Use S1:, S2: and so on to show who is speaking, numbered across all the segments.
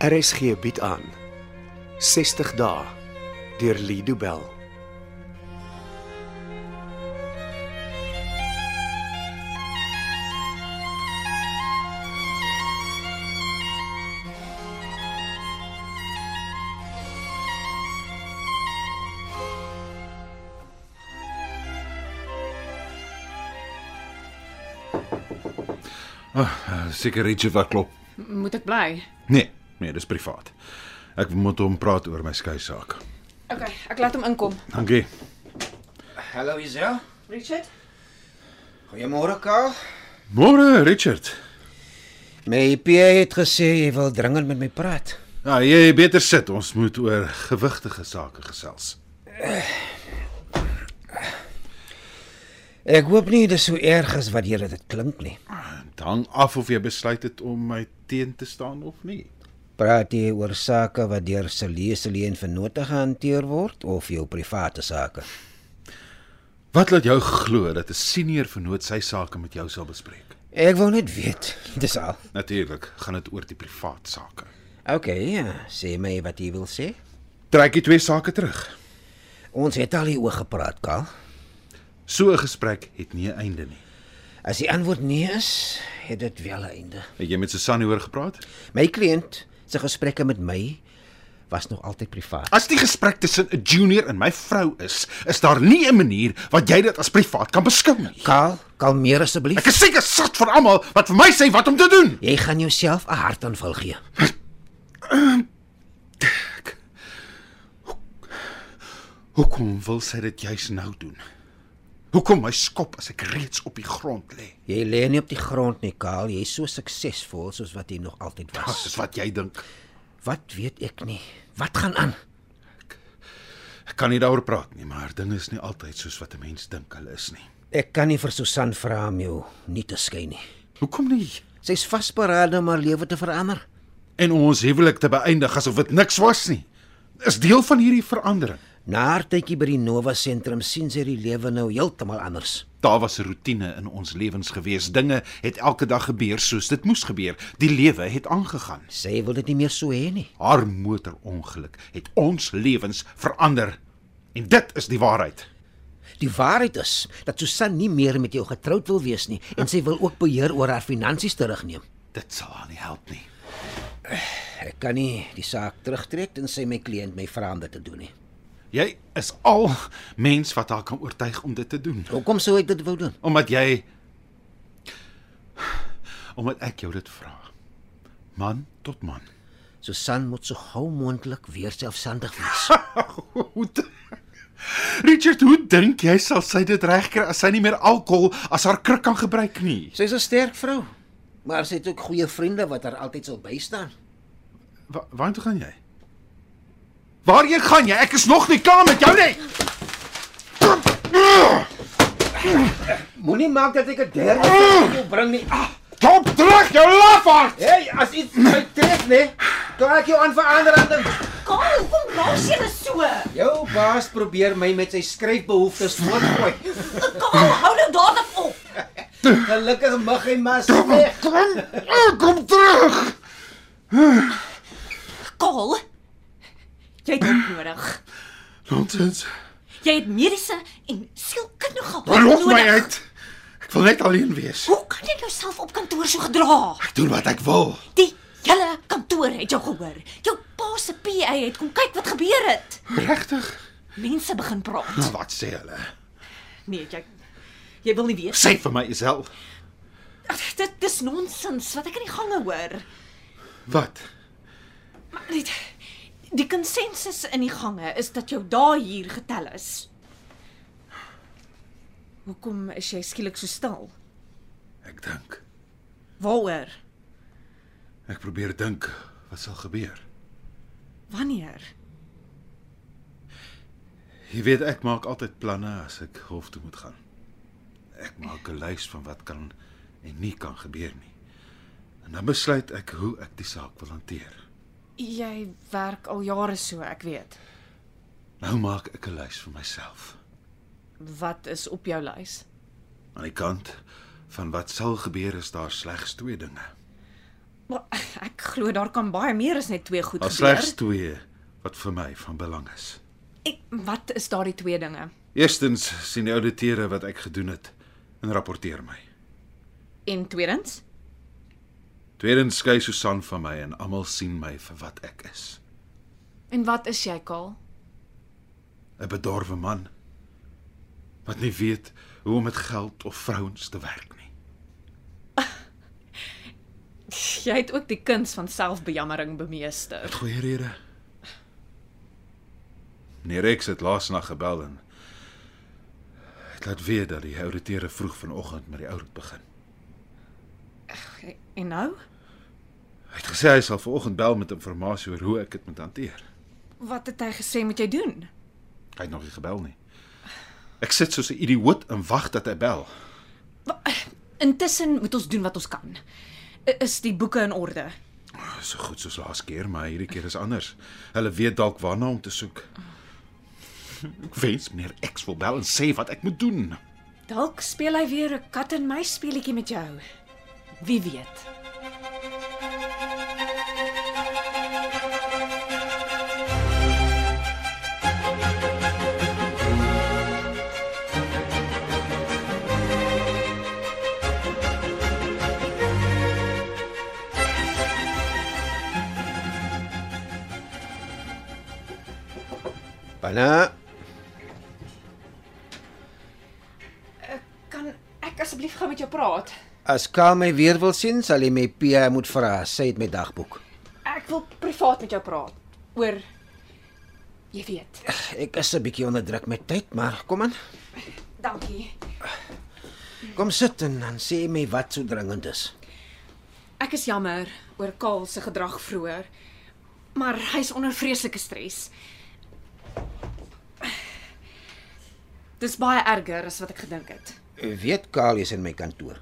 S1: RSG bied aan 60 dae deur Lido Bell.
S2: Seker Richie wat klop.
S3: Moet ek bly?
S2: Nee, nee, dis privaat. Ek moet hom praat oor my skei saak.
S3: OK, ek laat hom inkom.
S2: Dankie.
S4: Hallo Isel.
S3: Richard?
S4: Goeiemôre Karl.
S2: Môre Richard.
S4: My PA het gesê jy wil dringend met my praat.
S2: Ja, jy beter sit. Ons moet oor gewigtige sake gesels.
S4: Ek hoop nie dis so erg as wat jy dit klink nie.
S2: Dan af of jy besluit het om my teen te staan of nie.
S4: Praat jy oor sake wat deur Celesele en Vennote gehanteer word of jou private sake?
S2: Wat laat jou glo dat 'n senior vernoot sy sake met jou sal bespreek?
S4: Ek wou net weet, dis al.
S2: Natuurlik gaan dit oor die privaat sake.
S4: OK, ja, sê my wat jy wil sê.
S2: Trek die twee sake terug.
S4: Ons het al hieroor gepraat, Karl.
S2: So 'n gesprek het nie 'n einde nie.
S4: As die antwoord nee is, het dit wel 'n einde.
S2: Het jy met Susan oor gepraat?
S4: My kliënt se gesprekke met my was nog altyd privaat.
S2: As die gesprek tussen 'n junior en my vrou is, is daar nie 'n manier wat jy dit as privaat kan beskou nie.
S4: Karl, kalmeer asseblief.
S2: Ek is seker sat vir almal wat vir my sê wat om te doen.
S4: Jy gaan jouself 'n hartaanval gee.
S2: Hoekom wil sy dit juis nou doen? Hoekom my skop as ek reeds op die grond lê?
S4: Jy lê nie op die grond nie, Karl. Jy's so suksesvol soos wat jy nog altyd
S2: Dit is
S4: was.
S2: Ah, wat jy dink.
S4: Wat weet ek nie. Wat gaan aan?
S2: Ek kan nie daaroor praat nie, maar dinge is nie altyd soos wat 'n mens dink hulle is nie.
S4: Ek kan nie vir Susan vra om jou nie te skei nie.
S2: Hoekom nie?
S4: Sy's vasberade om haar lewe te verander.
S2: En ons huwelik te beëindig asof dit niks was nie. Is deel van hierdie verandering.
S4: Na haar tydjie by die Nova sentrum sien sy die lewe nou heeltemal anders.
S2: Daar was 'n rotine in ons lewens gewees. Dinge het elke dag gebeur soos dit moes gebeur. Die lewe het aangegaan.
S4: Sy wil dit nie meer so hê nie.
S2: Haar motorongeluk het ons lewens verander. En dit is die waarheid.
S4: Die waarheid is dat Susan nie meer met jou getroud wil wees nie en sy wil ook beheer oor haar finansies terugneem.
S2: Dit sal haar nie help nie.
S4: Ek kan nie die saak terugtrek tensy my kliënt my vra om dit te doen nie.
S2: Jy is al mens wat haar kan oortuig om dit te doen,
S4: Hoekom sou ek dit wou doen?
S2: omdat jy omdat ek jou dit vra. Man tot man.
S4: Susan moet so gou moontlik weer selfstandig wees.
S2: Hoe d- Richard, hoe dink jy sal sy dit regkry as sy nie meer alkohol as haar kruk kan gebruik nie?
S4: Sy's 'n sterk vrou, maar sy het ook goeie vriende wat haar altyd sal bystaan.
S2: Wa waartoe gaan jy? Waarheen gaan jy? Ek is nog nie klaar met jou nie.
S4: Moenie maak dat ek 'n derde vir jou bring nie. Ah,
S2: Kom terug, jou lafaard.
S4: hey, as iets my tref, né? Klaar ek jou aan verandering.
S5: Karl, hoekom los jy my so?
S4: Jou baas probeer my met sy skryfbehoeftes voortgooi.
S5: Karl, hou nou dadelik op.
S4: Gelukkig mag hy maar sleg.
S2: Kom, Eh, kom terug.
S5: Karl, jy het hulp nodig.
S2: Nonsens.
S5: Jy het mediese en sielkundige hulp
S2: Verlos
S5: nodig.
S2: my uit. Ek wil net alleen wees.
S5: Hoe kan jy jouself op kantoor so gedra?
S2: Ek doen wat ek wil.
S5: Die hele kantoor het jou gehoor. Jou pa se PA het kom kyk wat gebeur het.
S2: Regtig?
S5: Mense begin praat.
S2: Hm, Wat sê hulle?
S5: Nee, jy jy wil nie weet.
S2: Sê vir my self.
S5: Dit dis nonsens wat ek in die gange hoor.
S2: Wat?
S5: Maar net die konsensus in die gange is dat jou dae hier getel is. Hoekom is jy skielik so stil?
S2: Ek dink.
S5: Waaroor?
S2: Ek probeer dink wat sal gebeur.
S5: Wanneer?
S2: Jy weet ek maak altyd planne as ek hof toe moet gaan. Ek maak 'n lys van wat kan en nie kan gebeur nie. En dan besluit ek hoe ek die saak wil hanteer.
S3: Jy werk al jare so, ek weet.
S2: Nou maak ek 'n lys vir myself
S3: Wat is op jou lys?
S2: aan die kant van wat sal gebeur is daar slegs twee dinge.
S3: Maar ek glo daar kan baie meer as net twee goed
S2: Daar
S3: gebeur.
S2: slegs twee wat vir my van belang is.
S3: Ek wat is daardie twee dinge?
S2: Eerstens sien die ouditeure wat ek gedoen het en rapporteer my.
S3: En tweedens,
S2: Tweedens skei Susan van my en almal sien my vir wat ek is.
S3: en wat is jy, Kaal?
S2: 'n Bedorwe man wat nie weet hoe om met geld of vrouens te werk nie.
S3: Jy het ook die kuns van selfbejammering bemeester.
S2: Met goeie rede. Meneer Rex het laas nag gebel en het laat weet dat die ouditeure vroeg vanoggend met die oud begin.
S3: En nou?
S2: Hy het gesê hy sal vanoggend bel met inligting oor hoe ek dit moet hanteer.
S3: Wat het hy gesê moet jy doen?
S2: Hy het nog nie gebel nie. Ek sit soos 'n idioot en wag dat hy bel.
S3: Intussen moet ons doen wat ons kan. I- Is die boeke in orde?
S2: So goed soos laas keer, maar hierdie keer is anders. Hulle weet dalk waarna om te soek. Ek wens meneer X wil bel en sê wat ek moet doen.
S3: Dalk speel hy weer 'n kat en muis speletjie met jou. Wie weet?
S4: Panna,
S3: Kan ek asseblief gou met jou praat?
S4: as Kaal my weer wil sien, sal jy my PA moet vra. Sy het my dagboek.
S3: Ek wil privaat met jou praat oor jy weet.
S4: Ek is 'n bietjie onder druk met tyd, maar kom aan.
S3: Dankie.
S4: Kom sit en dan sê jy my wat so dringend is.
S3: Ek is jammer oor Kaal se gedrag vroeër, maar hy's onder vreeslike stres. Dis baie erger as wat ek gedink het.
S4: Jy weet Kaal is in my kantoor.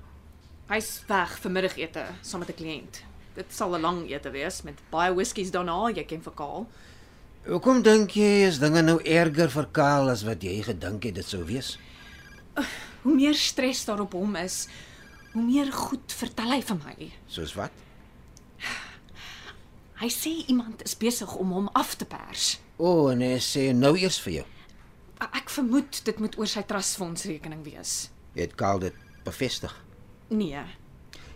S3: Hy's weg vir middagete saam met 'n kliënt. Dit sal 'n lang ete wees met baie whiskies daarna, jy ken vir Kaal.
S4: Hoekom dink jy is dinge nou erger vir Kaal as wat jy gedink het dit sou wees?
S3: Hoe meer stres daar op hom is, hoe meer goed vertel hy vir my.
S4: Soos wat?
S3: Hy sê iemand is besig om hom af te pers.
S4: O, oh, nee, sê nou eers vir jou.
S3: Ek vermoed dit moet oor sy trustfondsrekening wees.
S4: Het Kaal dit bevestig?
S3: Nee.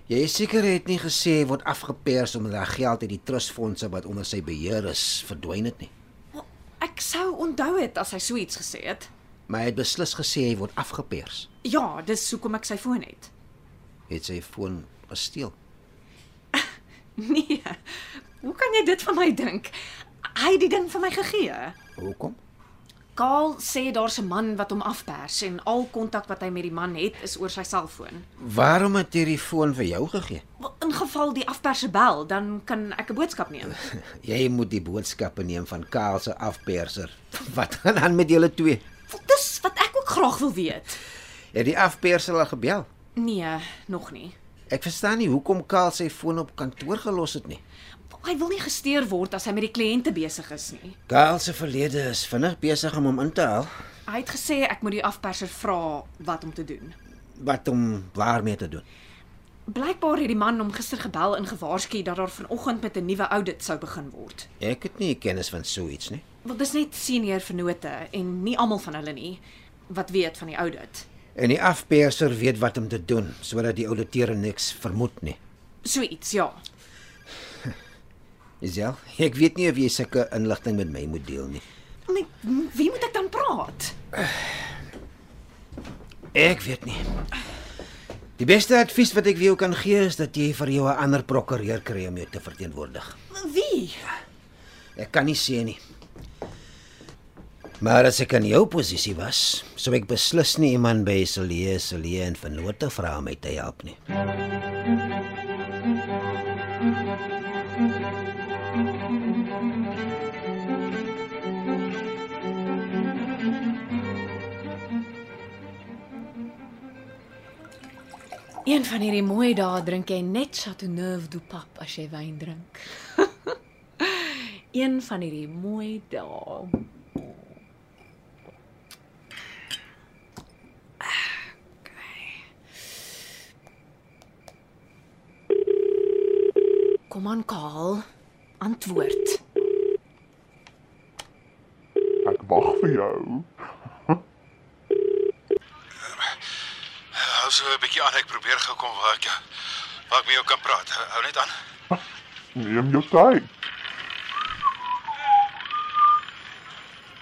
S4: Jy is seker hy het nie gesê hy word afgepers omdat daar geld uit die trustfondse wat onder sy beheer is verdwyn het nie.
S3: Ek sou onthou het as hy so iets gesê het.
S4: Maar hy het beslis gesê hy word afgepers.
S3: Ja, dis hoekom ek sy foon het.
S4: Het sy foon gesteel.
S3: Nee. Hoe kan jy dit van my dink? Hy het die ding vir my gegee.
S4: Hoekom?
S3: Kaal sê daar's 'n man wat hom afpers en al kontak wat hy met die man het is oor sy selfoon.
S4: Waarom het hy die foon vir jou gegee?
S3: Wel, In geval die afperser bel, dan kan ek 'n boodskap neem.
S4: Jy moet die boodskappe neem van Kaal se afperser. Wat gaan aan met julle twee?
S3: Wel, Dis wat ek ook graag wil weet.
S4: Het die afperser al gebel?
S3: Nee, nog nie.
S4: Ek verstaan nie hoekom Kaal sy foon op kantoor gelos het nie.
S3: Hy wil nie gesteer word as hy met die kliënte besig is nie.
S4: Kaal se verlede is vinnig besig om hom in te haal,
S3: Hy het gesê ek moet die afperser vra wat om te doen.
S4: wat om waarmee te doen.
S3: Blykbaar het die man hom gister gebel en gewaarsku dat daar vanoggend met 'n nuwe audit sou begin word.
S4: Ek het nie kennis van so iets nie.
S3: Want dis net senior vennote en nie almal van hulle nie wat weet van die audit.
S4: En die afperser weet wat om te doen sodat die ouditeur niks vermoed nie.
S3: So iets, ja.
S4: Isel, ek weet nie of jy sulke inligting met my moet deel nie.
S3: Met wie moet ek dan praat?
S4: Ek weet nie. Die beste advies wat ek vir jou kan gee is dat jy vir jou 'n ander prokureur kry om jou te verteenwoordig.
S3: Wie?
S4: Ek kan nie sê nie. Maar as ek in jou posisie was, sou ek beslis nie iemand by Celie, Celie en Venote vra om my te help nie.
S3: Een van hierdie mooi dae drink jy net Chateauneuf du Pape as jy wyn drink. Een van hierdie mooi dae.
S5: Kom aan, Kaal. Antwoord.
S6: Ek wag vir jou.
S2: Hou so 'n bietjie aan, ek probeer gou kom waar ek waar ek met jou kan praat. Hou net aan.
S6: Neem jou tyd.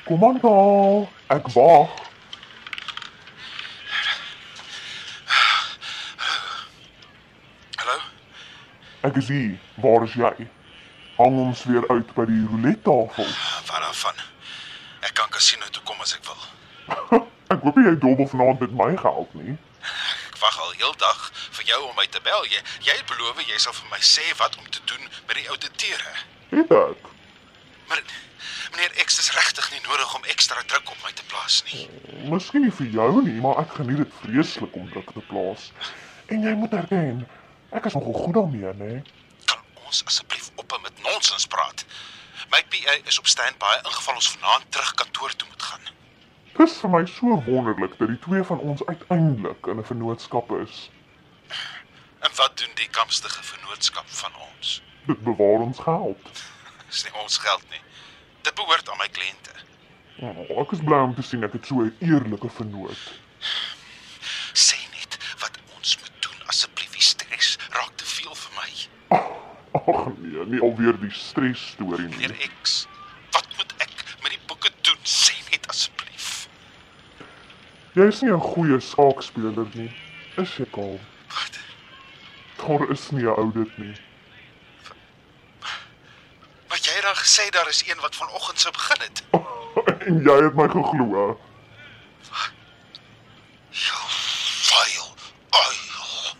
S6: Kom aan, Kaal. Ek wag.
S2: Hallo.
S6: Ek is hier. Waar is jy? Hang ons weer uit by die roulette tafel.
S2: Wat daarvan? Ek kan kasino toe kom as ek wil.
S6: Ek hoop nie jy dobbel vanaand met my geld nie.
S2: Ek wag al heeldag vir jou om my te bel. Jy jy het beloof jy sal vir my sê wat om te doen met die ouditeure.
S6: Het ek?
S2: Maar meneer X is regtig nie nodig om ekstra druk op my te plaas nie.
S6: Miskien nie vir jou nie, maar ek geniet dit vreeslik om druk te plaas. En jy moet erken, ek is nogal goed daarmee, né?
S2: Kan ons asseblief op met nonsens praat? My PA is op standby ingeval ons vanaand terug kantoor toe moet gaan.
S6: Dis vir my so wonderlik dat die twee van ons uiteindelik in 'n vennootskap is.
S2: En wat doen die kampstige vennootskap van ons?
S6: Dit bewaar ons geld.
S2: Dis nie ons geld nie. Dit behoort aan my kliënte.
S6: Oh, ek is bly om te sien ek het so 'n eerlike vennoot.
S2: Sê net wat ons moet doen asseblief. Die stres raak te veel vir my.
S6: Ag nee, nie alweer die stres storie nie.
S2: Meneer E- X, wat moet ek met die boeke doen? Sê net asseblief.
S6: Jy is nie 'n goeie saakspeler nie. Is jy kalm?
S2: Wat?
S6: Daar is nie 'n oudit nie.
S2: Wat jy dan gesê daar is een wat vanoggend sou begin het.
S6: en jy het my geglo.
S2: Ja, Vuil. Uil.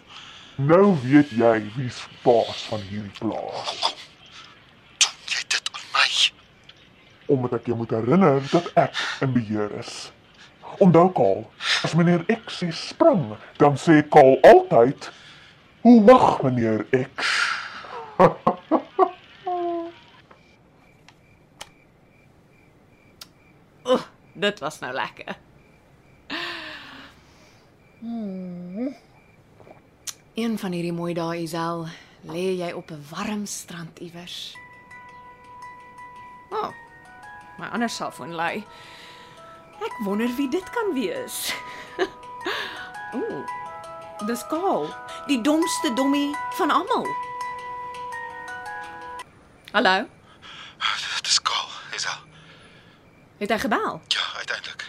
S6: Nou weet jy wie's baas van hierdie plaas.
S2: Doen jy dit aan my?
S6: Omdat ek jou moet herinner dat ek in beheer is. Onthou Kaal, as meneer X sê spring, dan sê Kaal altyd: "Hoe mag meneer X?"
S3: Oeg, dit was nou lekker. Hmm. Een van hierdie mooi dae, Isel, lê jy op 'n warm strand iewers. O, oh, my ander selfoon lui. Ek wonder wie dit kan wees. Ooh. Dis Kaal, die domste dommie van almal. Hallo,
S2: Dis kaal, is al.
S3: het hy gebel?
S2: Ja, uiteindelik.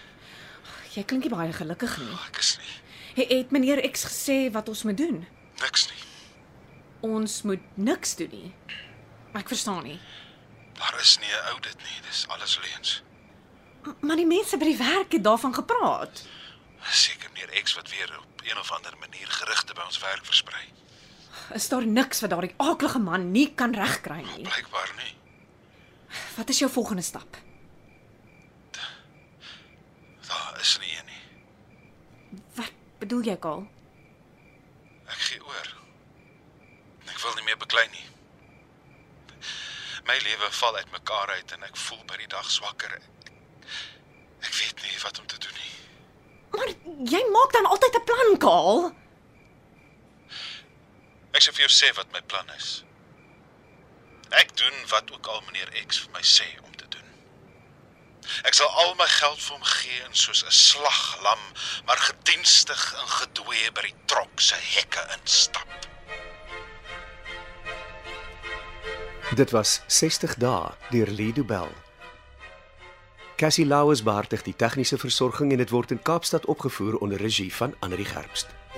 S3: Jy klink nie baie gelukkig nie.
S2: Ek is nie
S3: Hy het meneer X gesê wat ons moet doen.
S2: niks nie.
S3: Ons moet niks doen nie. Ek verstaan nie.
S2: Daar is nie 'n oudit nie. Dis alles leuns.
S3: M- Maar die mense by die werk het daarvan gepraat.
S2: Seker meneer X wat weer op een of ander manier gerugte by ons werk versprei.
S3: Is daar niks wat daardie aaklige man nie kan regkry nie?
S2: Blykbaar nie.
S3: Wat is jou volgende stap?
S2: Daar is nie een nie.
S3: Wat bedoel jy, Kaal?
S2: Ek gee oor. Ek wil nie meer beklei nie. My lewe val uitmekaar uit en ek voel by die dag swakker. Ek, ek weet nie wat om te doen nie.
S3: Maar jy maak dan altyd 'n plan, Kaal.
S2: Ek sê vir jou sê wat my plan is. Ek doen wat ook al meneer X vir my sê om te doen. Ek sal al my geld vir hom gee en soos 'n slaglam, maar gedienstig in gedoeye by die trok se hekke instap.
S1: Dit was 60 dae deur Lido Bell. Cassie Lauers beheer die tegniese versorging en dit word in Kaapstad opgevoer onder regie van Anri Gerbst.